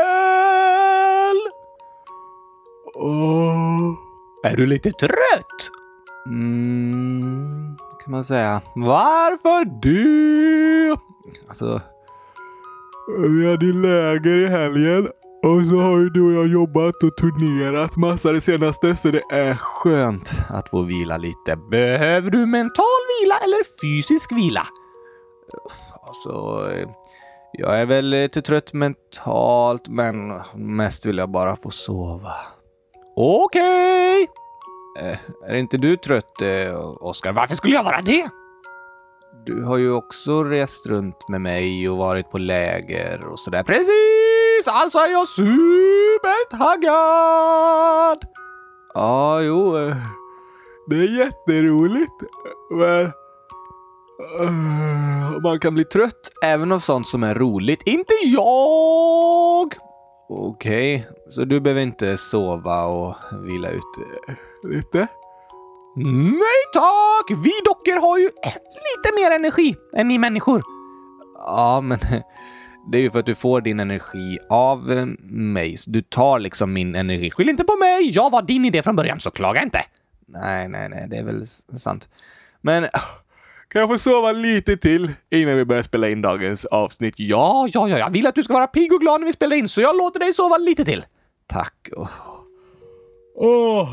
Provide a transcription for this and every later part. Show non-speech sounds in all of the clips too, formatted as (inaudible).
Gabriel! Åh, är du lite trött? Mm, kan man säga. Varför det? Alltså, Vi hade ju läger i helgen och så har ju du och jag jobbat och turnerat massa det senaste så det är skönt att få vila lite. Behöver du mental vila eller fysisk vila? Alltså, eh, jag är väl lite trött mentalt, men mest vill jag bara få sova. Okej! Eh, är inte du trött, eh, Oskar? Varför skulle jag vara det? Du har ju också rest runt med mig och varit på läger och sådär. Precis! Alltså är jag supertaggad! Ja, jo. eh, Det är jätteroligt, men... Eh, Man kan bli trött. Även av sånt som är roligt. Inte jag! Okej, så du behöver inte sova och vila ut. eh. Lite? Nej tack! Vi dockor har ju lite mer energi än ni människor. Ja, men (laughs) det är ju för att du får din energi av eh, mig. Så du tar liksom min energi. Skyll inte på mig, jag var din idé från början så klaga inte. Nej, nej, nej, det är väl s- sant. Men Kan jag få sova lite till innan vi börjar spela in dagens avsnitt? Ja, ja, ja, jag vill att du ska vara pigg och glad när vi spelar in så jag låter dig sova lite till. tack. och- Åh!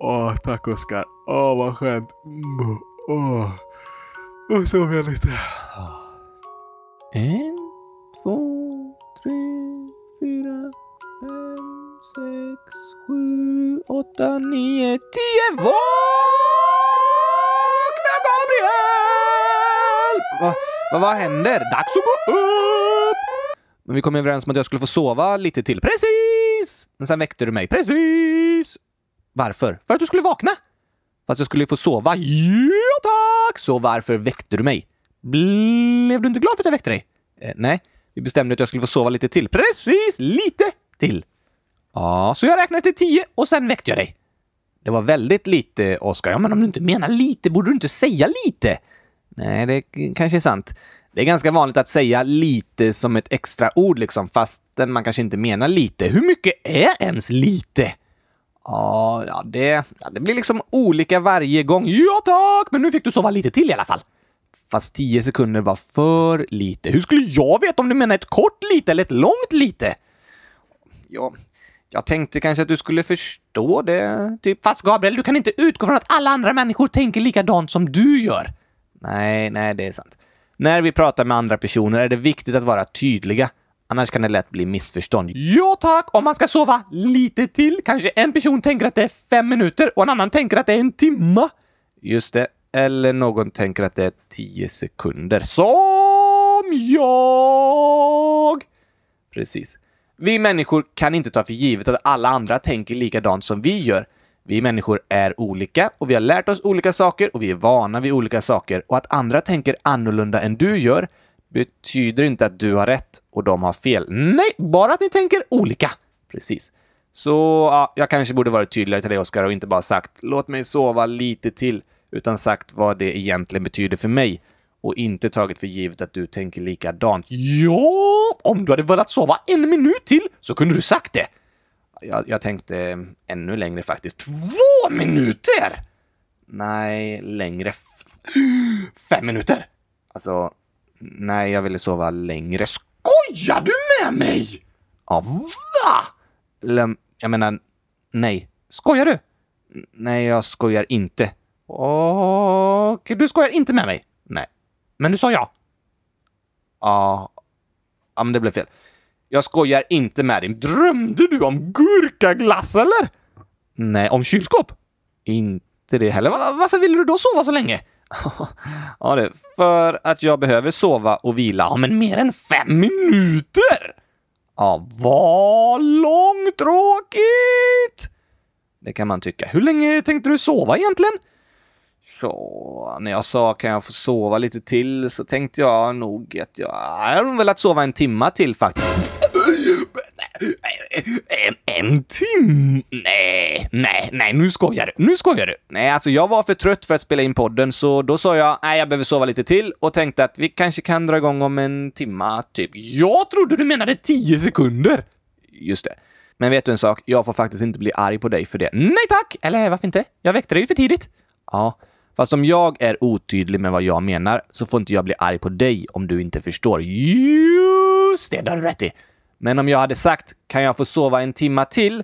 Åh, tack Oskar. Åh, vad skönt. Mm, Åh. Och sov jag lite. En, två, tre, fyra, fem, sex, sju, åtta, nio, tio. Vakna Gabriel! Va, va, vad händer? Dags att gå Upp! Men vi kom överens om att jag skulle få sova lite till. Precis! Men sen väckte du mig. Precis! Varför? För att du skulle vakna. Fast jag skulle ju få sova. Ja, tack! Så varför väckte du mig? Blev du inte glad för att jag väckte dig? Eh, nej, vi bestämde att jag skulle få sova lite till. Precis! Lite till. Ja, så jag räknade till tio och sen väckte jag dig. Det var väldigt lite, Oskar. Ja, men om du inte menar lite, borde du inte säga lite? Nej, det k- kanske är sant. Det är ganska vanligt att säga lite som ett extra ord liksom, fastän man kanske inte menar lite. Hur mycket är ens lite? Ja, ja, det, ja, det blir liksom olika varje gång. Ja tack, men nu fick du sova lite till i alla fall. Fast 10 sekunder var för lite. Hur skulle jag veta om du menar ett kort lite eller ett långt lite? Ja, jag tänkte kanske att du skulle förstå det. Typ. Fast Gabriel, du kan inte utgå från att alla andra människor tänker likadant som du gör. Nej, nej, det är sant. När vi pratar med andra personer är det viktigt att vara tydliga. Annars kan det lätt bli missförstånd. Ja tack! Om man ska sova lite till kanske en person tänker att det är fem minuter och en annan tänker att det är en timma. Just det. Eller någon tänker att det är tio sekunder. Som jag! Precis. Vi människor kan inte ta för givet att alla andra tänker likadant som vi gör. Vi människor är olika och vi har lärt oss olika saker och vi är vana vid olika saker och att andra tänker annorlunda än du gör betyder inte att du har rätt och de har fel. Nej, bara att ni tänker olika. Precis. Så ja, jag kanske borde varit tydligare till dig, Oskar, och inte bara sagt “låt mig sova lite till” utan sagt vad det egentligen betyder för mig och inte tagit för givet att du tänker likadant. Ja, om du hade velat sova en minut till så kunde du sagt det. Jag, jag tänkte eh, ännu längre faktiskt. Två minuter! Nej, längre. F- fem minuter! Alltså, nej, jag ville sova längre. Skojar du med mig? Ja, va? Eller, jag menar, nej. Skojar du? N- Nej, jag skojar inte. Och du skojar inte med mig? Nej. Men du sa ja? Ja. Ja, men det blev fel. Jag skojar inte med dig. Drömde du om gurkaglass eller? Nej, om kylskåp? Inte det heller. Va- Varför ville du då sova så länge? (laughs) ja, det. För att jag behöver sova och vila. Ja, men mer än fem minuter! Ja, vad långtråkigt! Det kan man tycka. Hur länge tänkte du sova egentligen? Så när jag sa kan jag få sova lite till så tänkte jag nog att jag... Jag hade nog velat sova Eh, en timma till faktiskt. En, en timme? Nej, nej, nej, nu skojar du. Nu skojar du. Nej, alltså jag var för trött för att spela in podden, så då sa jag nej, jag behöver sova lite till och tänkte att vi kanske kan dra igång om en timma, typ. Jag trodde du menade tio sekunder! Just det. Men vet du en sak? Jag får faktiskt inte bli arg på dig för det. Nej tack! Eller varför inte? Jag väckte dig ju för tidigt. Ja, fast om jag är otydlig med vad jag menar så får inte jag bli arg på dig om du inte förstår. Just det, det har du rätt i. Men om jag hade sagt “Kan jag få sova en timma till?”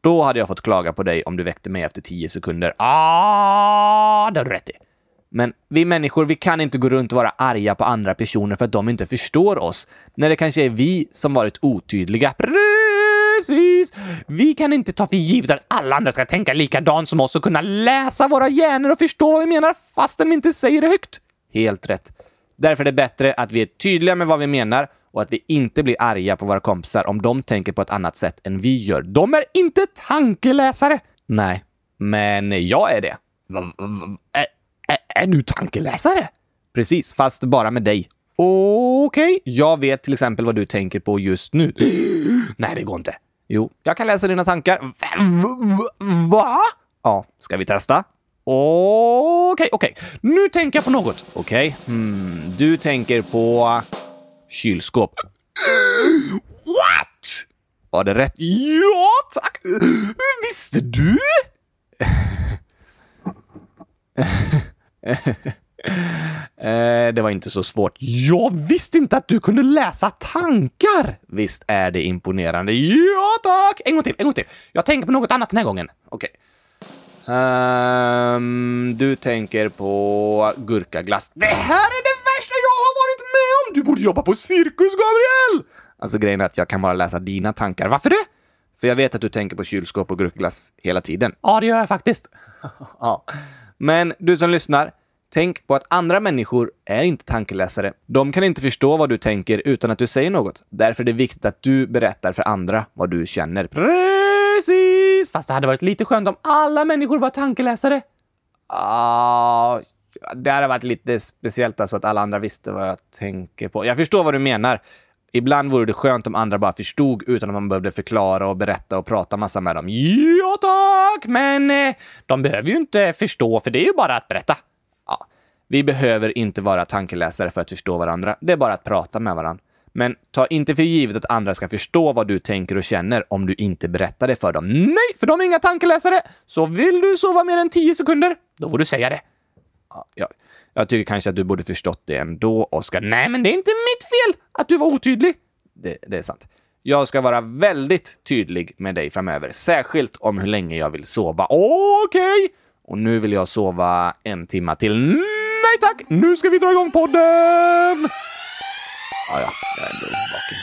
Då hade jag fått klaga på dig om du väckte mig efter tio sekunder. Ah, det har du rätt i. Men vi människor, vi kan inte gå runt och vara arga på andra personer för att de inte förstår oss. När det kanske är vi som varit otydliga. Precis! Vi kan inte ta för givet att alla andra ska tänka likadant som oss och kunna läsa våra hjärnor och förstå vad vi menar fastän vi inte säger det högt. Helt rätt. Därför är det bättre att vi är tydliga med vad vi menar och att vi inte blir arga på våra kompisar om de tänker på ett annat sätt än vi gör. De är inte tankeläsare! Nej, men jag är det. Va- va- va- Är, är, är du tankeläsare? Precis, fast bara med dig. Okej, jag vet till exempel vad du tänker på just nu. (gasps) Nej, det går inte. Jo, jag kan läsa dina tankar. Va? va- va? Ja, ska vi testa? Okej, okej. Nu tänker jag på något. Okej. Hmm, du tänker på kylskåp. (gasps) What? Var det rätt? Ja, tack! Visste du? Eh, det var inte så svårt. Jag visste inte att du kunde läsa tankar! Visst är det imponerande? Ja, tack! En gång till, en gång till. Jag tänker på något annat den här gången. Okej. Ehm, du tänker på gurkaglass. Det här är det värsta jag har varit med om! Du borde jobba på cirkus, Gabriel! Alltså grejen är att jag kan bara läsa dina tankar. Varför det? För jag vet att du tänker på kylskåp och gurkaglass hela tiden. Ja, det gör jag faktiskt. (laughs) ja. Men du som lyssnar, tänk på att andra människor är inte tankeläsare. De kan inte förstå vad du tänker utan att du säger något. Därför är det viktigt att du berättar för andra vad du känner. Precis! Fast det hade varit lite skönt om alla människor var tankeläsare. Ah, det hade varit lite speciellt alltså att alla andra visste vad jag tänker på. Jag förstår vad du menar. Ibland vore det skönt om andra bara förstod utan att man behövde förklara och berätta och prata massa med dem. Ja tack, men eh, de behöver ju inte förstå för det är ju bara att berätta. Ja, vi behöver inte vara tankeläsare för att förstå varandra. Det är bara att prata med varandra. Men ta inte för givet att andra ska förstå vad du tänker och känner om du inte berättar det för dem. Nej, för de är inga tankeläsare! Så vill du sova mer än 10 sekunder, då får du säga det. Ja, jag, jag tycker kanske att du borde förstått det ändå, Oskar. Nej, men det är inte mitt fel att du var otydlig. Det, det är sant. Jag ska vara väldigt tydlig med dig framöver, särskilt om hur länge jag vill sova. Okej! Och nu vill jag sova en timma till. Nej tack! Nu ska vi dra igång podden! Ja, ja, jag är ändå vaken.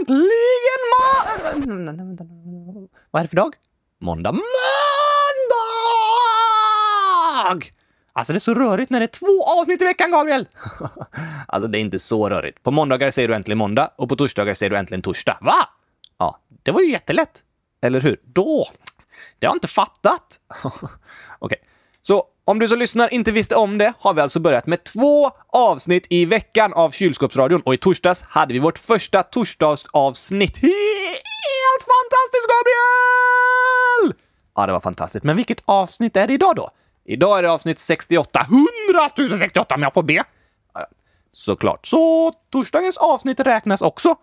Äntligen ma... Vad är det för dag? Måndag. Måndag! Alltså det är så rörigt när det är två avsnitt i veckan, Gabriel! (laughs) alltså det är inte så rörigt. På måndagar säger du äntligen måndag och på torsdagar säger du äntligen torsdag. Va? Ja, det var ju jättelätt. Eller hur? Då! Det har jag inte (laughs) fattat. Okej. Så om du som lyssnar inte visste om det har vi alltså börjat med två avsnitt i veckan av Kylskåpsradion och i torsdags hade vi vårt första torsdagsavsnitt. Helt fantastiskt Gabriel! Ja, det var fantastiskt. Men vilket avsnitt är det idag då? Idag är det avsnitt 68. 100 068 om jag får be! Ja, ja. Såklart. Så torsdagens avsnitt räknas också.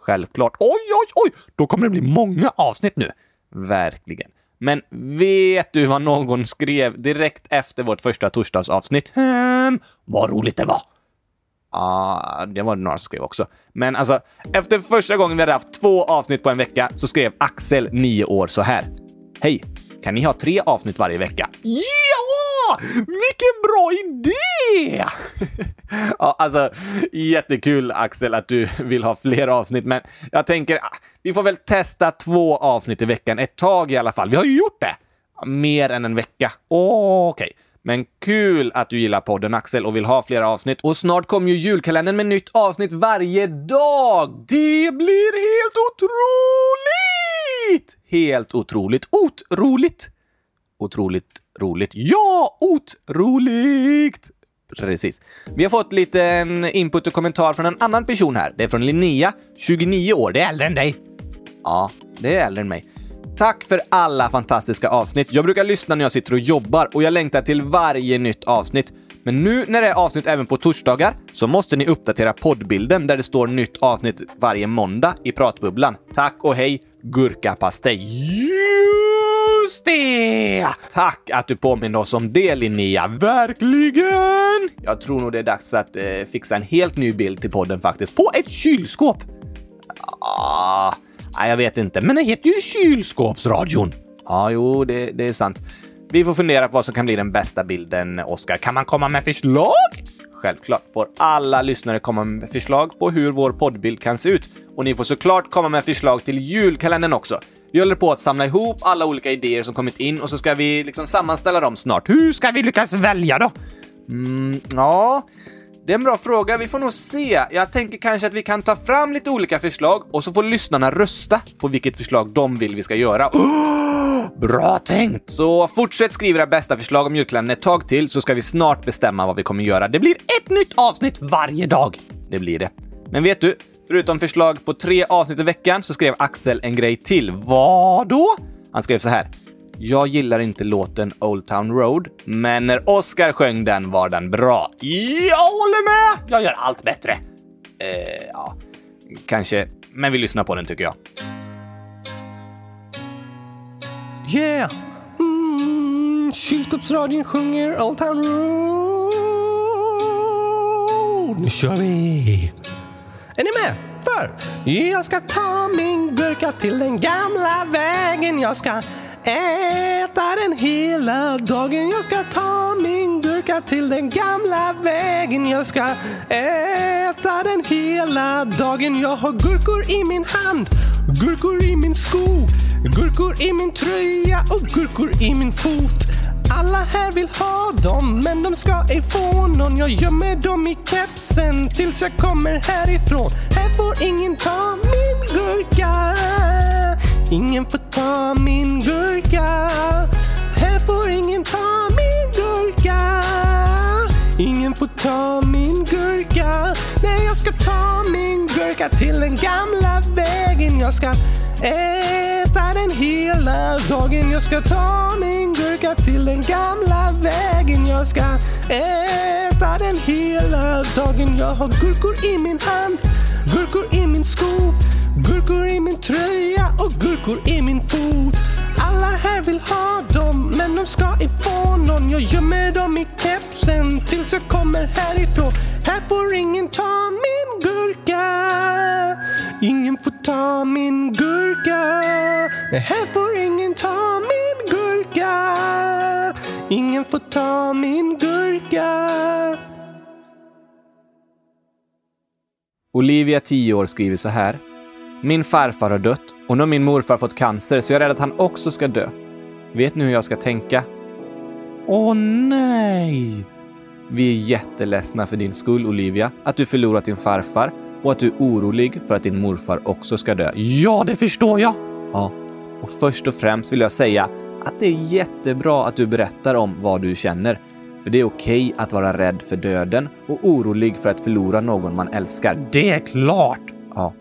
Självklart. Oj, oj, oj! Då kommer det bli många avsnitt nu. Verkligen. Men vet du vad någon skrev direkt efter vårt första torsdagsavsnitt? Hmm, vad roligt det var! Ja, det var det några som skrev också. Men alltså, efter första gången vi hade haft två avsnitt på en vecka så skrev Axel, 9 år, så här. Hej! Kan ni ha tre avsnitt varje vecka? Ja! Vilken bra idé! (laughs) ja, alltså, jättekul Axel att du vill ha fler avsnitt, men jag tänker ah, vi får väl testa två avsnitt i veckan ett tag i alla fall. Vi har ju gjort det! Mer än en vecka. Okej. Men kul att du gillar podden Axel och vill ha flera avsnitt. Och snart kommer ju julkalendern med nytt avsnitt varje dag! Det blir helt otroligt! Helt otroligt. Otroligt! Otroligt roligt. Ja, otroligt! Precis. Vi har fått lite en input och kommentar från en annan person här. Det är från Linnea, 29 år. Det är äldre än dig. Ja, det är äldre än mig. Tack för alla fantastiska avsnitt. Jag brukar lyssna när jag sitter och jobbar och jag längtar till varje nytt avsnitt. Men nu när det är avsnitt även på torsdagar så måste ni uppdatera poddbilden där det står nytt avsnitt varje måndag i pratbubblan. Tack och hej, gurkapastej! Just det! Tack att du påminner oss om det, Linnea. Verkligen! Jag tror nog det är dags att eh, fixa en helt ny bild till podden faktiskt. På ett kylskåp! Ah, nej, jag vet inte, men den heter ju Kylskåpsradion. Ja, ah, jo, det, det är sant. Vi får fundera på vad som kan bli den bästa bilden, Oskar. Kan man komma med förslag? Självklart får alla lyssnare komma med förslag på hur vår poddbild kan se ut. Och ni får såklart komma med förslag till julkalendern också. Vi håller på att samla ihop alla olika idéer som kommit in och så ska vi liksom sammanställa dem snart. Hur ska vi lyckas välja då? Mm, ja, det är en bra fråga. Vi får nog se. Jag tänker kanske att vi kan ta fram lite olika förslag och så får lyssnarna rösta på vilket förslag de vill vi ska göra. Bra tänkt! Så fortsätt skriva era bästa förslag om julkalendern ett tag till så ska vi snart bestämma vad vi kommer göra. Det blir ett nytt avsnitt varje dag! Det blir det. Men vet du? Förutom förslag på tre avsnitt i veckan så skrev Axel en grej till. Vad då? Han skrev så här. Jag gillar inte låten Old Town Road, men när Oscar sjöng den var den bra. Jag håller med! Jag gör allt bättre. Eh, ja, kanske. Men vi lyssnar på den tycker jag. Yeah! Mm, kylskåpsradion sjunger Old Town Road. Nu kör vi! Är ni med? För jag ska ta min gurka till den gamla vägen. Jag ska äta den hela dagen. Jag ska ta min gurka till den gamla vägen. Jag ska äta den hela dagen. Jag har gurkor i min hand, gurkor i min sko, gurkor i min tröja och gurkor i min fot. Alla här vill ha dem men de ska ifrån någon Jag gömmer dem i kepsen tills jag kommer härifrån Här får ingen ta min gurka Ingen får ta min gurka Här får ingen ta min gurka Ingen får ta min gurka Nej, jag ska ta min gurka till den gamla vägen Jag ska äta den hela dagen Jag ska ta min gurka till den gamla vägen Jag ska äta den hela dagen Jag har gurkor i min hand, gurkor i min sko Gurkor i min tröja och gurkor i min fot alla här vill ha dem, men de ska ifrån någon. Jag gömmer dem i kepsen tills jag kommer härifrån. Här får ingen ta min gurka. Ingen får ta min gurka. Nej, här får ingen ta min gurka. Ingen får ta min gurka. Olivia, 10 år, skriver så här. Min farfar har dött och nu har min morfar fått cancer så jag är rädd att han också ska dö. Vet ni hur jag ska tänka? Åh nej! Vi är jätteledsna för din skull, Olivia, att du förlorat din farfar och att du är orolig för att din morfar också ska dö. Ja, det förstår jag! Ja, och först och främst vill jag säga att det är jättebra att du berättar om vad du känner. För det är okej att vara rädd för döden och orolig för att förlora någon man älskar. Det är klart! Ja.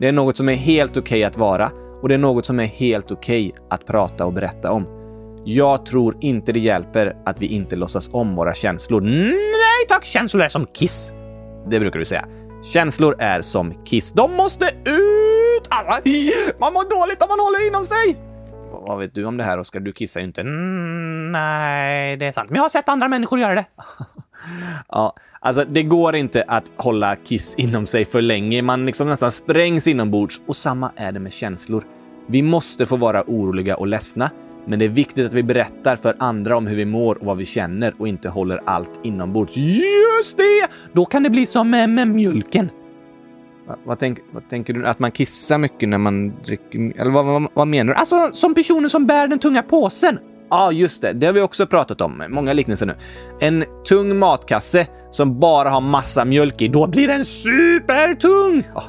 Det är något som är helt okej att vara och det är något som är helt okej att prata och berätta om. Jag tror inte det hjälper att vi inte låtsas om våra känslor. Nej tack, känslor är som kiss. Det brukar du säga. Känslor är som kiss. De måste ut! Alla- Man mår dåligt om man håller inom sig! Vad- Vad vet du om det här, Oskar? Du kissar ju inte. Mm, nej, det är sant. Men jag har sett andra människor göra det. Ja, alltså det går inte att hålla kiss inom sig för länge. Man liksom nästan sprängs inombords och samma är det med känslor. Vi måste få vara oroliga och ledsna, men det är viktigt att vi berättar för andra om hur vi mår och vad vi känner och inte håller allt inombords. Just det! Då kan det bli som med, med mjölken. Va, vad, tänk, vad tänker du? Att man kissar mycket när man dricker? Eller vad, vad, vad menar du? Alltså, som personen som bär den tunga påsen. Ja, just det. Det har vi också pratat om. Många liknelser nu. En tung matkasse som bara har massa mjölk i, då blir den supertung! Ja,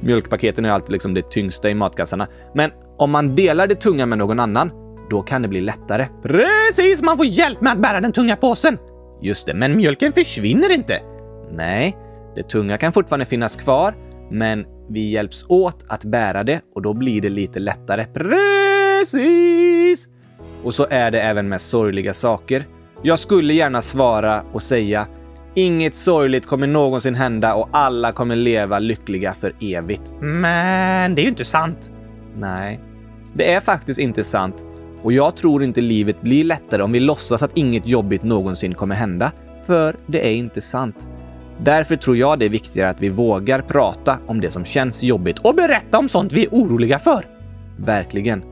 mjölkpaketen är ju alltid liksom det tyngsta i matkassarna. Men om man delar det tunga med någon annan, då kan det bli lättare. Precis! Man får hjälp med att bära den tunga påsen! Just det, men mjölken försvinner inte. Nej, det tunga kan fortfarande finnas kvar, men vi hjälps åt att bära det och då blir det lite lättare. Precis! Och så är det även med sorgliga saker. Jag skulle gärna svara och säga Inget sorgligt kommer någonsin hända och alla kommer leva lyckliga för evigt. Men det är ju inte sant. Nej, det är faktiskt inte sant. Och jag tror inte livet blir lättare om vi låtsas att inget jobbigt någonsin kommer hända. För det är inte sant. Därför tror jag det är viktigare att vi vågar prata om det som känns jobbigt och berätta om sånt vi är oroliga för. Verkligen.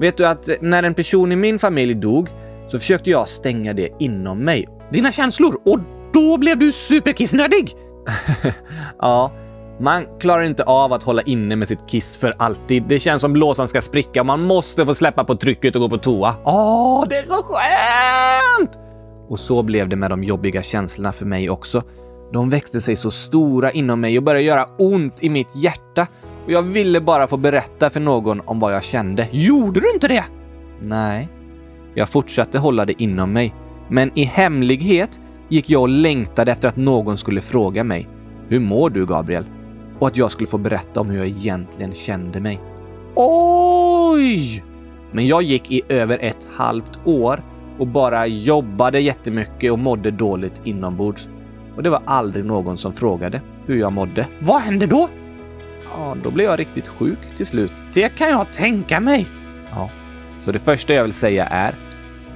Vet du att när en person i min familj dog så försökte jag stänga det inom mig. Dina känslor? Och då blev du superkissnödig! (laughs) ja, man klarar inte av att hålla inne med sitt kiss för alltid. Det känns som blåsan ska spricka och man måste få släppa på trycket och gå på toa. Åh, det är så skönt! Och så blev det med de jobbiga känslorna för mig också. De växte sig så stora inom mig och började göra ont i mitt hjärta. Och jag ville bara få berätta för någon om vad jag kände. Gjorde du inte det? Nej. Jag fortsatte hålla det inom mig. Men i hemlighet gick jag och längtade efter att någon skulle fråga mig. Hur mår du, Gabriel? Och att jag skulle få berätta om hur jag egentligen kände mig. Oj! Men jag gick i över ett halvt år och bara jobbade jättemycket och mådde dåligt inombords. Och det var aldrig någon som frågade hur jag mådde. Vad hände då? Ja, då blev jag riktigt sjuk till slut. Det kan jag tänka mig. Ja. Så det första jag vill säga är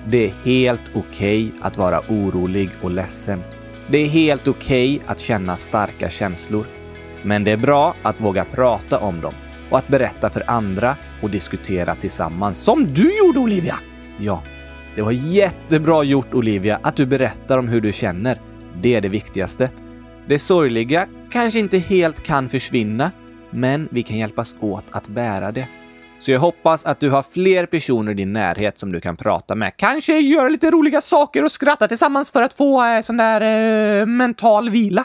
det är helt okej att vara orolig och ledsen. Det är helt okej att känna starka känslor. Men det är bra att våga prata om dem och att berätta för andra och diskutera tillsammans. Som du gjorde Olivia! Ja, det var jättebra gjort Olivia att du berättar om hur du känner. Det är det viktigaste. Det sorgliga kanske inte helt kan försvinna, men vi kan hjälpas åt att bära det. Så jag hoppas att du har fler personer i din närhet som du kan prata med. Kanske göra lite roliga saker och skratta tillsammans för att få eh, sån där eh, mental vila.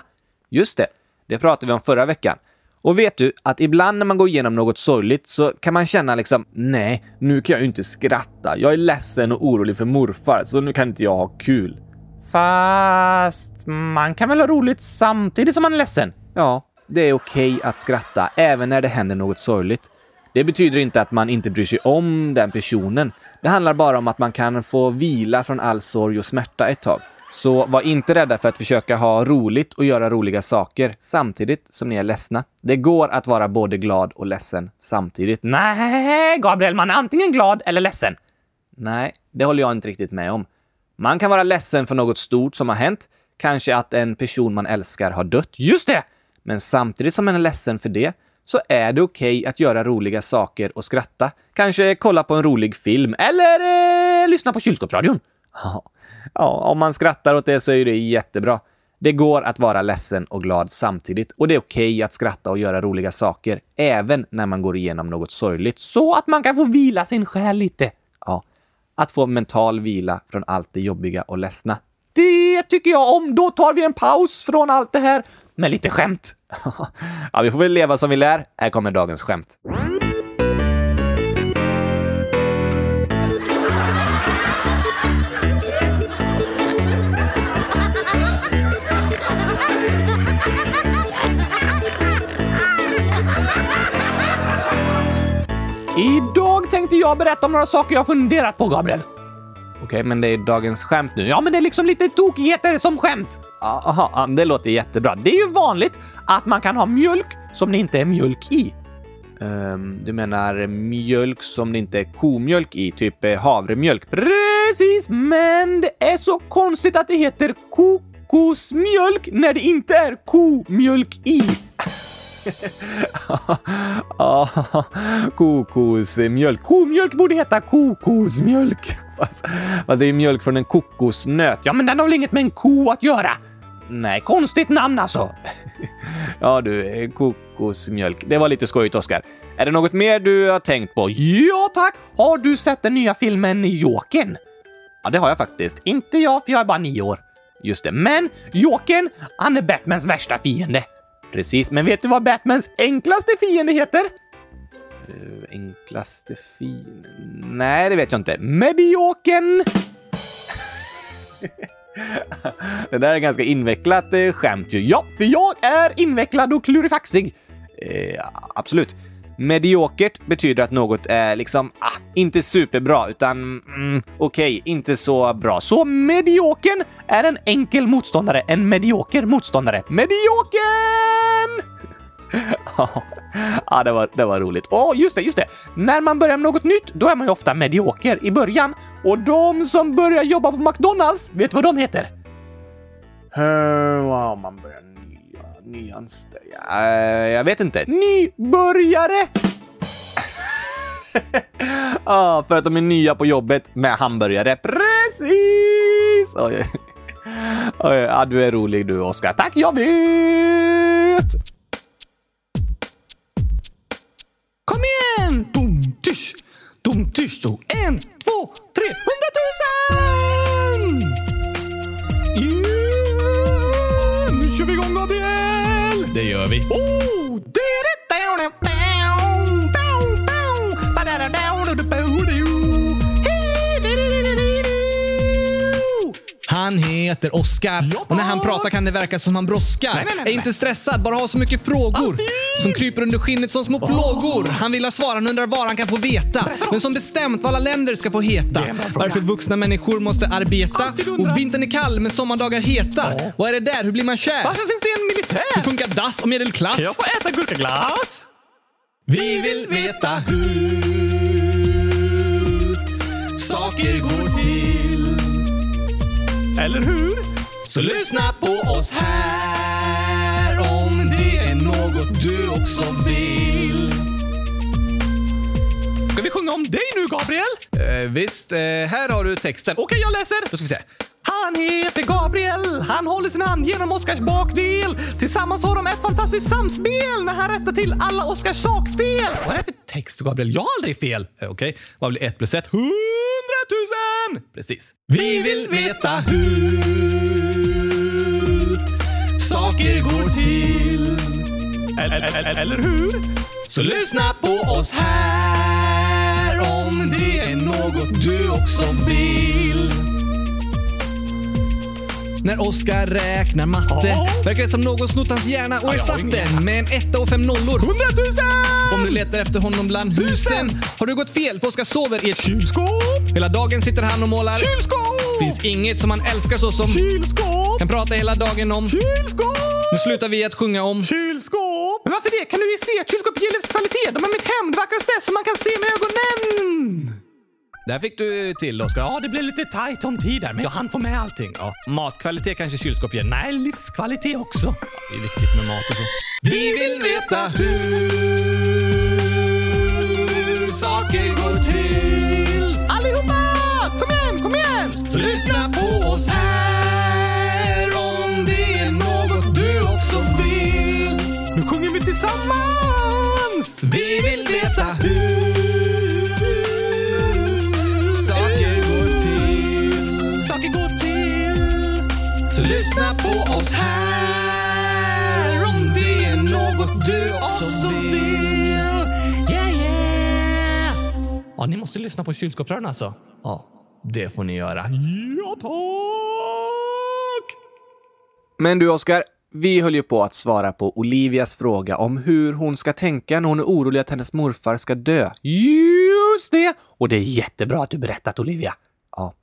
Just det, det pratade vi om förra veckan. Och vet du att ibland när man går igenom något sorgligt så kan man känna liksom nej, nu kan jag ju inte skratta. Jag är ledsen och orolig för morfar, så nu kan inte jag ha kul. Fast man kan väl ha roligt samtidigt som man är ledsen? Ja, det är okej att skratta även när det händer något sorgligt. Det betyder inte att man inte bryr sig om den personen. Det handlar bara om att man kan få vila från all sorg och smärta ett tag. Så var inte rädda för att försöka ha roligt och göra roliga saker samtidigt som ni är ledsna. Det går att vara både glad och ledsen samtidigt. Nej, Gabriel, man är antingen glad eller ledsen. Nej, det håller jag inte riktigt med om. Man kan vara ledsen för något stort som har hänt, kanske att en person man älskar har dött. Just det! Men samtidigt som man är ledsen för det så är det okej att göra roliga saker och skratta. Kanske kolla på en rolig film eller eh, lyssna på kylskåpsradion. Ja. ja, om man skrattar åt det så är det jättebra. Det går att vara ledsen och glad samtidigt och det är okej att skratta och göra roliga saker även när man går igenom något sorgligt så att man kan få vila sin själ lite. Ja, att få mental vila från allt det jobbiga och ledsna. Det tycker jag om! Då tar vi en paus från allt det här med lite skämt. (laughs) ja, vi får väl leva som vi lär. Här kommer dagens skämt. Idag tänkte jag berätta om några saker jag funderat på, Gabriel. Okej, men det är dagens skämt nu. Ja, men det är liksom lite tokigheter som skämt. Ja, Aha, ja, det låter jättebra. Det är ju vanligt att man kan ha mjölk som det inte är mjölk i. Ehm, du menar mjölk som det inte är komjölk i, typ eh, havremjölk? Precis, men det är så konstigt att det heter kokosmjölk när det inte är komjölk i. Ja, kokosmjölk. Komjölk borde heta kokosmjölk. Fast- fast Det är mjölk från en kokosnöt. Ja, men den har väl inget med en ko att göra? Nej, konstigt namn alltså. Ja du, eh, kokosmjölk. Det var lite skojigt, Oskar. Är det något mer du har tänkt på? Ja tack! Har du sett den nya filmen Jokern? Ja, det har jag faktiskt. Inte jag, för jag är bara nio år. Just det, men Jokern, han är Batmans värsta fiende. Precis, men vet du vad Batmans enklaste fiende heter? Eh, enklaste fiende? Nej, det vet jag inte. Mediokern! Det där är ganska invecklat eh, skämt ju. Ja, för jag är invecklad och klurifaxig. Eh, absolut. Mediokert betyder att något är liksom, ah, inte superbra utan mm, okej, inte så bra. Så mediokern är en enkel motståndare, en medioker motståndare. Mediokern! (laughs) ja, det var, det var roligt. Åh, just det, just det. När man börjar med något nytt, då är man ju ofta medioker i början. Och de som börjar jobba på McDonalds, vet du vad de heter? Uh, wow, man börjar nya, nyanställda. jag vet inte. Nybörjare! (laughs) Ja, för att de är nya på jobbet med hamburgare. Precis! Oj. Oj, ja, du är rolig du, Oskar. Tack, jag vet! Kom igen! Dum, tysch! Dum, tysch! En, två, tre, hundratusen! Yeah! Nu kör vi igång, Gabriel! Det gör vi. Oh! det är det. Han heter Oscar och när han pratar kan det verka som han brådskar. nej, nej, Är nej. inte stressad, bara har så mycket frågor som kryper under skinnet som små plågor. Han vill ha svar, han undrar vad han kan få veta. Men som bestämt vad alla länder ska få heta. Varför vuxna människor måste arbeta. Och vintern är kall men sommardagar heta. Vad är det där? Hur blir man kär? Varför finns det en militär? Hur funkar dass och medelklass? Jag får äta gurkaglass! Vi vill veta hur saker går till. Eller hur? Så lyssna på oss här om det är något du också vill. Ska vi sjunga om dig nu, Gabriel? Eh, visst, eh, här har du texten. Okej, jag läser. Då ska vi se. Han heter Gabriel, han håller sin hand genom Oscars bakdel. Tillsammans har de ett fantastiskt samspel när han rättar till alla Oscars sakfel. Vad är det för text, Gabriel? Jag har aldrig fel. Eh, Okej, vad blir ett plus ett? Hundratusen! Precis. Vi vill veta hur saker går till. Eller hur? Så lyssna på oss här om det är något du också vill. När Oskar räknar matte Ja. verkar det som någon snott hans hjärna och ersatt den med en etta och fem nollor. Hundratusen! Om du letar efter honom bland husen har du gått fel för Oskar sover i ett kylskåp. Kylskåp! Hela dagen sitter han och målar. Kylskåp! Finns inget som han älskar så som Kylskåp! kan prata hela dagen om. Kylskåp! Nu slutar vi att sjunga om. Kylskåp! Men varför det? Kan du ju se att kylskåp ger livskvalitet? De är mitt hem, det vackraste som man kan se med ögonen! Där fick du till Oskar. Ja, det blev lite tajt om tid där, men jag hann få med allting. Ja. Matkvalitet kanske kylskåp ger? Nej, Livskvalitet också. det är viktigt med mat och så. Vi vill veta hur saker går till. Allihopa! Kom igen, kom igen! Så lyssna på oss här om det är något du också vill. Nu sjunger vi tillsammans! Vi vill veta hur saker går till. Saker går till. Så lyssna på oss här om det är något du också vill. Yeah, yeah. Ja, ni måste lyssna på kylskåpsrören alltså. Ja, det får ni göra. Ja, tack! Men du Oskar, vi höll ju på att svara på Olivias fråga om hur hon ska tänka när hon är orolig att hennes morfar ska dö. Just det! Och det är jättebra att du berättat Olivia. Ja.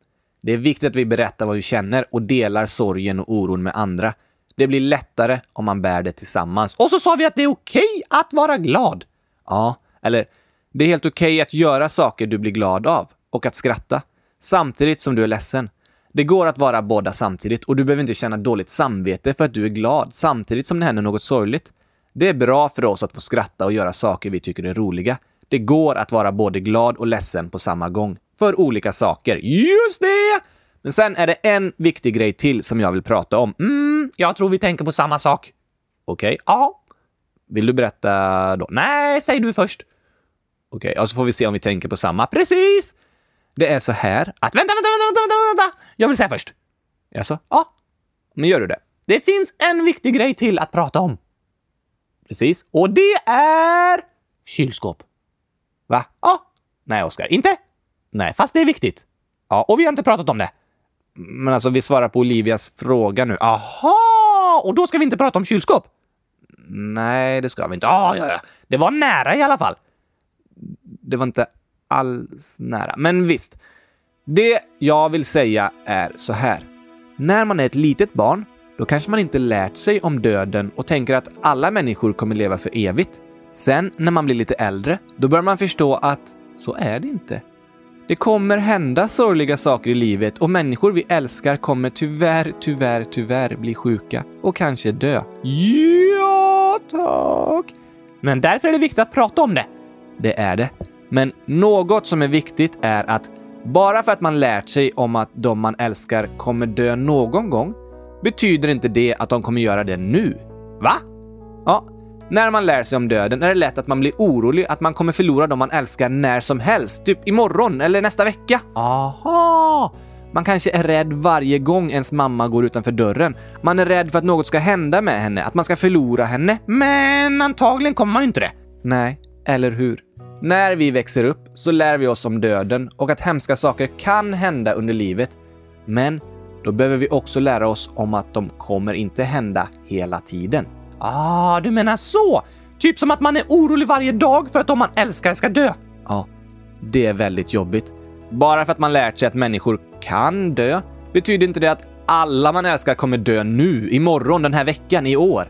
Det är viktigt att vi berättar vad vi känner och delar sorgen och oron med andra. Det blir lättare om man bär det tillsammans. Och så sa vi att det är okej att vara glad. Ja, eller det är helt okej att göra saker du blir glad av och att skratta samtidigt som du är ledsen. Det går att vara båda samtidigt och du behöver inte känna dåligt samvete för att du är glad samtidigt som det händer något sorgligt. Det är bra för oss att få skratta och göra saker vi tycker är roliga. Det går att vara både glad och ledsen på samma gång. För olika saker. Just det! Men sen är det en viktig grej till som jag vill prata om. Mm, jag tror vi tänker på samma sak. Okej, ja. Vill du berätta då? Nej, säg du först. Okej, ja, så får vi se om vi tänker på samma. Precis! Det är så här att... Vänta, vänta, vänta, vänta, vänta, vänta! Jag vill säga först. Jaså? Ja. Men gör du det? Det finns en viktig grej till att prata om. Precis. Och det är... Kylskåp. Va? Ja. Nej, Oskar. Inte? Nej, fast det är viktigt. Ja, och vi har inte pratat om det. Men alltså, vi svarar på Olivias fråga nu. Aha! Och då ska vi inte prata om kylskåp? Nej, det ska vi inte. Ah, ja, ja. Det var nära i alla fall. Det var inte alls nära, men visst. Det jag vill säga är så här. När man är ett litet barn, då kanske man inte lärt sig om döden och tänker att alla människor kommer leva för evigt. Sen när man blir lite äldre, då börjar man förstå att så är det inte. Det kommer hända sorgliga saker i livet och människor vi älskar kommer tyvärr, tyvärr, tyvärr bli sjuka och kanske dö. Ja, tack! Men därför är det viktigt att prata om det. Det är det. Men något som är viktigt är att bara för att man lärt sig om att de man älskar kommer dö någon gång betyder inte det att de kommer göra det nu. Va? Ja, när man lär sig om döden är det lätt att man blir orolig att man kommer förlora de man älskar när som helst, typ imorgon eller nästa vecka. Aha! Man kanske är rädd varje gång ens mamma går utanför dörren. Man är rädd för att något ska hända med henne, att man ska förlora henne. Men antagligen kommer man ju inte det. Nej, eller hur? När vi växer upp så lär vi oss om döden och att hemska saker kan hända under livet. Men då behöver vi också lära oss om att de kommer inte hända hela tiden. Ah, du menar så! Typ som att man är orolig varje dag för att de man älskar ska dö. Ja, det är väldigt jobbigt. Bara för att man lärt sig att människor kan dö betyder inte det att alla man älskar kommer dö nu, imorgon, den här veckan, i år.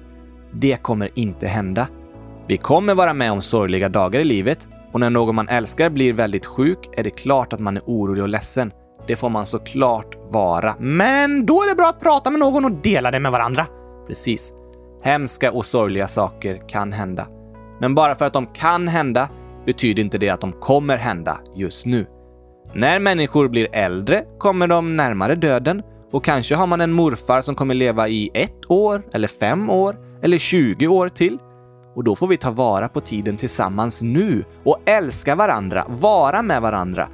Det kommer inte hända. Vi kommer vara med om sorgliga dagar i livet och när någon man älskar blir väldigt sjuk är det klart att man är orolig och ledsen. Det får man såklart vara. Men då är det bra att prata med någon och dela det med varandra. Precis. Hemska och sorgliga saker kan hända. Men bara för att de kan hända betyder inte det att de kommer hända just nu. När människor blir äldre kommer de närmare döden och kanske har man en morfar som kommer leva i ett år, eller fem år, eller 20 år till. Och då får vi ta vara på tiden tillsammans nu och älska varandra, vara med varandra.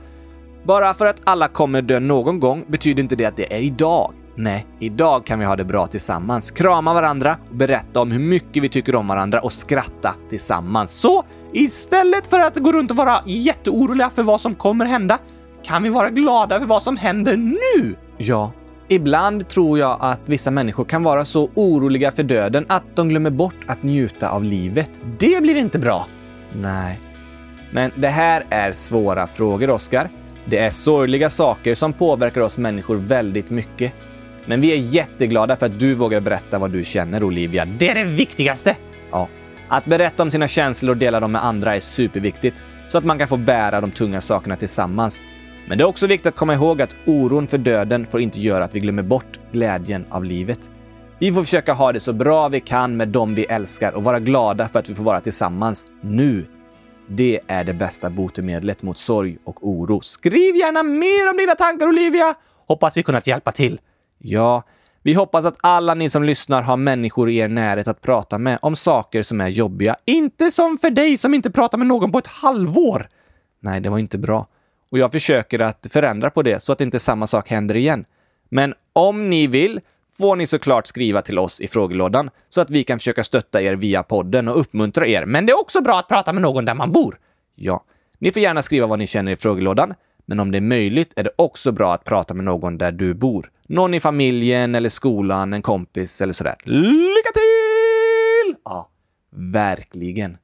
Bara för att alla kommer dö någon gång betyder inte det att det är idag. Nej, idag kan vi ha det bra tillsammans, krama varandra och berätta om hur mycket vi tycker om varandra och skratta tillsammans. Så istället för att gå runt och vara jätteoroliga för vad som kommer hända kan vi vara glada för vad som händer nu. Ja, Ibland tror jag att vissa människor kan vara så oroliga för döden att de glömmer bort att njuta av livet. Det blir inte bra. Nej. Men det här är svåra frågor, Oskar. Det är sorgliga saker som påverkar oss människor väldigt mycket. Men vi är jätteglada för att du vågar berätta vad du känner, Olivia. Det är det viktigaste! Ja. Att berätta om sina känslor och dela dem med andra är superviktigt, så att man kan få bära de tunga sakerna tillsammans. Men det är också viktigt att komma ihåg att oron för döden får inte göra att vi glömmer bort glädjen av livet. Vi får försöka ha det så bra vi kan med dem vi älskar och vara glada för att vi får vara tillsammans nu. Det är det bästa botemedlet mot sorg och oro. Skriv gärna mer om dina tankar Olivia! Hoppas vi kunnat hjälpa till. Ja, vi hoppas att alla ni som lyssnar har människor i er närhet att prata med om saker som är jobbiga. Inte som för dig som inte pratar med någon på ett halvår. Nej, det var inte bra och jag försöker att förändra på det så att inte samma sak händer igen. Men om ni vill får ni såklart skriva till oss i frågelådan så att vi kan försöka stötta er via podden och uppmuntra er. Men det är också bra att prata med någon där man bor. Ja, ni får gärna skriva vad ni känner i frågelådan, men om det är möjligt är det också bra att prata med någon där du bor. Någon i familjen eller skolan, en kompis eller sådär. Lycka till! Ja, verkligen.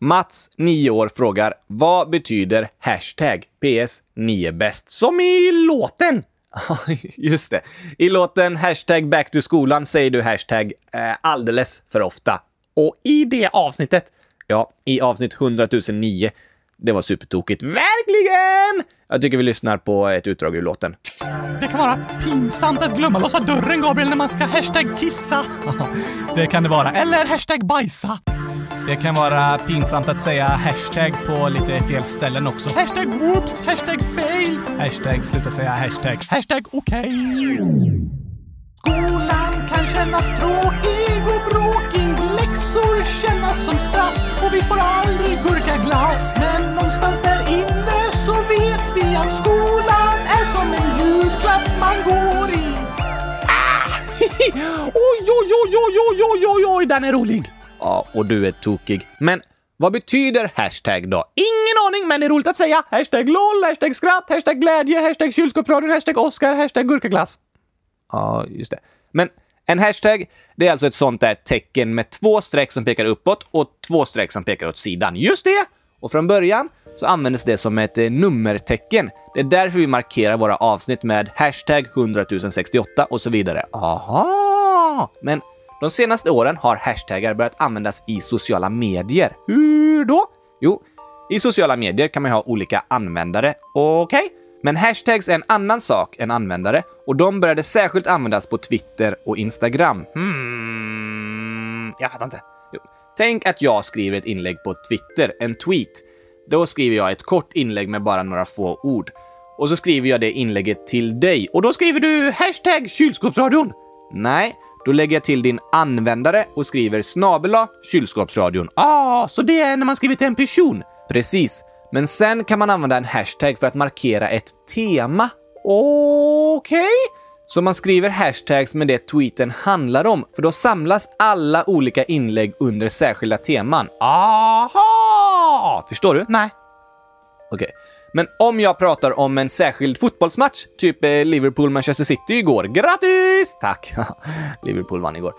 Mats, 9 år, frågar vad betyder hashtag PS 9 bäst? Som i låten! (laughs) Just det. I låten hashtag back to skolan säger du hashtag eh, alldeles för ofta. Och i det avsnittet Ja, i avsnitt 100 009. Det var supertokigt. Verkligen! Jag tycker vi lyssnar på ett utdrag ur låten. Det kan vara pinsamt att glömma (laughs) lossa dörren, Gabriel, när man ska hashtag kissa. Det kan det vara. Eller hashtag bajsa. Det kan vara pinsamt att säga hashtag på lite fel ställen också. Hashtag whoops, hashtag fail, hashtag sluta säga hashtag, hashtag okej. Skolan kan kännas tråkig och bråkig, läxor kännas som straff och vi får aldrig gurkaglass. Men någonstans där inne så vet vi att skolan är som en julklapp man går i. Oj, oj, oj, oj, oj, oj, oj, oj, den är rolig! Ja, och du är tokig. Men vad betyder hashtag då? Ingen aning, men det är roligt att säga. Hashtag LOL, hashtag skratt, hashtag glädje, hashtag kylskåpsradion, hashtag Oscar, hashtag gurkaglass. Ja, just det. Men en hashtag, det är alltså ett sånt där tecken med två streck som pekar uppåt och två streck som pekar åt sidan. Just det! Och från början så användes det som ett eh, nummertecken. Det är därför vi markerar våra avsnitt med hashtag 100068 och så vidare. Aha! Men de senaste åren har hashtaggar börjat användas i sociala medier. Hur då? Jo, i sociala medier kan man ju ha olika användare. Okej? Men hashtags är en annan sak än användare och de började särskilt användas på Twitter och Instagram. Hmm, jag fattar inte. Jo. Tänk att jag skriver ett inlägg på Twitter, en tweet. Då skriver jag ett kort inlägg med bara några få ord. Och så skriver jag det inlägget till dig och då skriver du hashtag kylskåpsradion. Nej, då lägger jag till din användare och skriver snabela kylskåpsradion. Ah, så det är när man skriver till en person? Precis. Men sen kan man använda en hashtag för att markera ett tema. Okej? Så man skriver hashtags med det tweeten handlar om, för då samlas alla olika inlägg under särskilda teman. Aha! Förstår du? Nej. Okej. Men om jag pratar om en särskild fotbollsmatch, typ eh, Liverpool-Manchester City igår. Grattis! Tack! (laughs) Liverpool vann igår.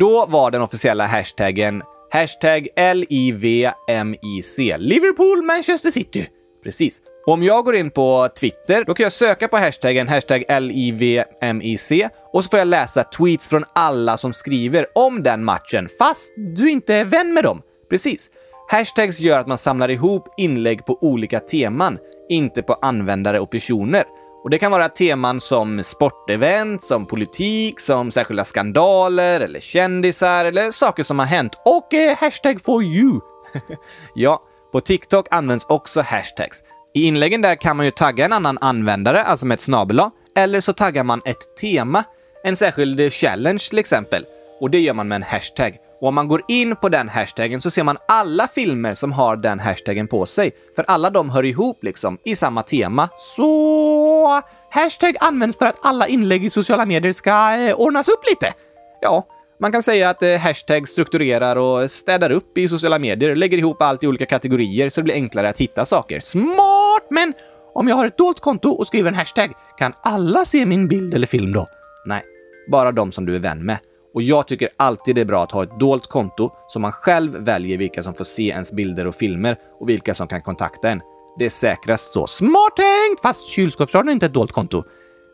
Då var den officiella hashtaggen hashtag LIVMIC. Liverpool-Manchester City. Precis. Om jag går in på Twitter, då kan jag söka på hashtaggen hashtag LIVMIC och så får jag läsa tweets från alla som skriver om den matchen, fast du inte är vän med dem. Precis. Hashtags gör att man samlar ihop inlägg på olika teman, inte på användare och personer. Och Det kan vara teman som sportevent, som politik, som särskilda skandaler eller kändisar eller saker som har hänt. Och eh, hashtag for you! (laughs) ja, på TikTok används också hashtags. I inläggen där kan man ju tagga en annan användare, alltså med ett snabel eller så taggar man ett tema, en särskild challenge till exempel. Och det gör man med en hashtag. Och om man går in på den hashtaggen så ser man alla filmer som har den hashtaggen på sig. För alla de hör ihop liksom, i samma tema. Så... Hashtag används för att alla inlägg i sociala medier ska eh, ordnas upp lite. Ja, man kan säga att eh, hashtag strukturerar och städar upp i sociala medier, lägger ihop allt i olika kategorier så det blir enklare att hitta saker. Smart! Men om jag har ett dolt konto och skriver en hashtag, kan alla se min bild eller film då? Nej, bara de som du är vän med. Och jag tycker alltid det är bra att ha ett dolt konto så man själv väljer vilka som får se ens bilder och filmer och vilka som kan kontakta en. Det är säkrast så. Smart tänkt! Fast kylskåpsradion är inte ett dolt konto.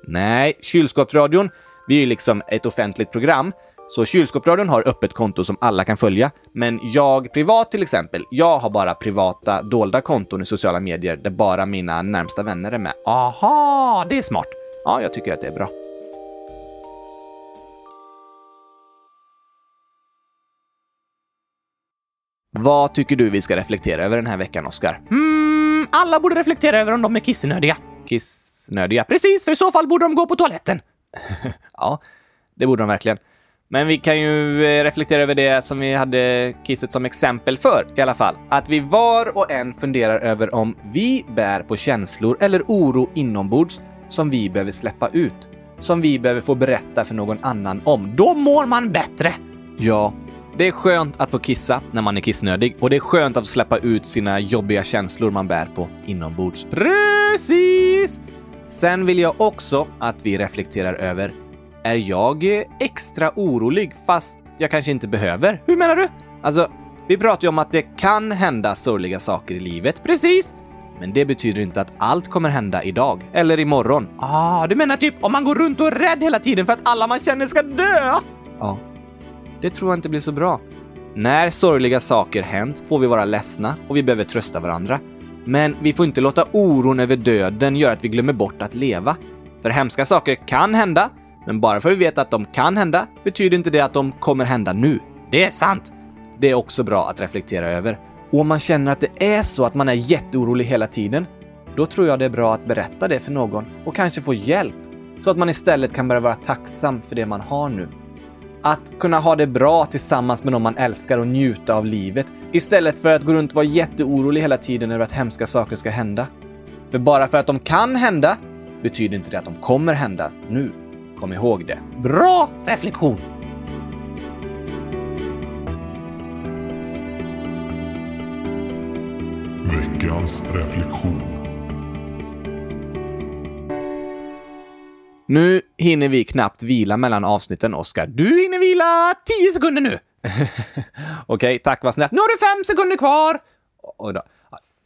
Nej, kylskåpsradion, vi är ju liksom ett offentligt program. Så kylskåpsradion har öppet konto som alla kan följa. Men jag privat till exempel, jag har bara privata dolda konton i sociala medier där bara mina närmsta vänner är med. Aha, det är smart. Ja, jag tycker att det är bra. Vad tycker du vi ska reflektera över den här veckan, Oskar? Mm, alla borde reflektera över om de är kissnödiga. Kissnödiga. Precis, för i så fall borde de gå på toaletten. Ja, det borde de verkligen. Men vi kan ju eh, reflektera över det som vi hade kisset som exempel för i alla fall. Att vi var och en funderar över om vi bär på känslor eller oro inombords som vi behöver släppa ut. Som vi behöver få berätta för någon annan om. Då mår man bättre. Ja, det är skönt att få kissa när man är kissnödig och det är skönt att släppa ut sina jobbiga känslor man bär på inombords. Precis! Sen vill jag också att vi reflekterar över, är jag eh, extra orolig fast jag kanske inte behöver? Hur menar du? Alltså, vi pratar ju om att det kan hända sorgliga saker i livet, precis! Men det betyder inte att allt kommer hända idag, eller imorgon. Ah, du menar typ om man går runt och är rädd hela tiden för att alla man känner ska dö? Ja. Det tror jag inte blir så bra. När sorgliga saker hänt får vi vara ledsna och vi behöver trösta varandra. Men vi får inte låta oron över döden göra att vi glömmer bort att leva. För hemska saker kan hända, men bara för att vi vet att de kan hända betyder inte det att de kommer hända nu. Det är sant. Det är också bra att reflektera över. Och om man känner att det är så att man är jätteorolig hela tiden, då tror jag det är bra att berätta det för någon och kanske få hjälp så att man istället kan börja vara tacksam för det man har nu. Att kunna ha det bra tillsammans med någon man älskar och njuta av livet istället för att gå runt och vara jätteorolig hela tiden över att hemska saker ska hända. För bara för att de kan hända betyder inte det att de kommer hända nu. Kom ihåg det. Bra reflektion! Veckans reflektion. Nu hinner vi knappt vila mellan avsnitten, Oskar. Du hinner vila 10 sekunder nu! (laughs) Okej, tack vad snällt. Nu har du 5 sekunder kvar! Oj då.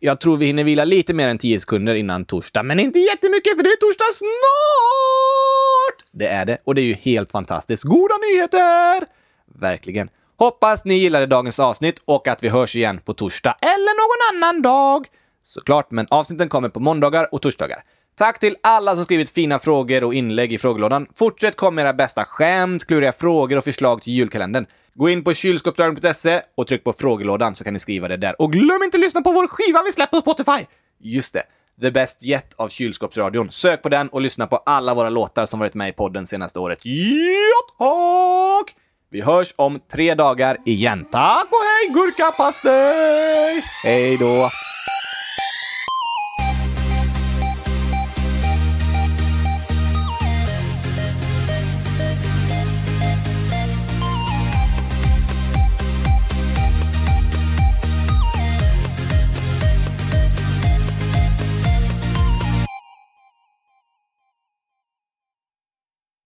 Jag tror vi hinner vila lite mer än 10 sekunder innan torsdag, men inte jättemycket för det är torsdag snart! Det är det, och det är ju helt fantastiskt. Goda nyheter! Verkligen. Hoppas ni gillade dagens avsnitt och att vi hörs igen på torsdag eller någon annan dag. Såklart, men avsnitten kommer på måndagar och torsdagar. Tack till alla som skrivit fina frågor och inlägg i frågelådan. Fortsätt komma med era bästa skämt, kluriga frågor och förslag till julkalendern. Gå in på kylskåpsdörren.se och tryck på frågelådan så kan ni skriva det där. Och glöm inte att lyssna på vår skiva vi släpper på Spotify! Just det, The Best Yet av Kylskåpsradion. Sök på den och lyssna på alla våra låtar som varit med i podden senaste året. Ja, tack! Vi hörs om tre dagar igen. Tack och hej, gurkapastej! Hej då!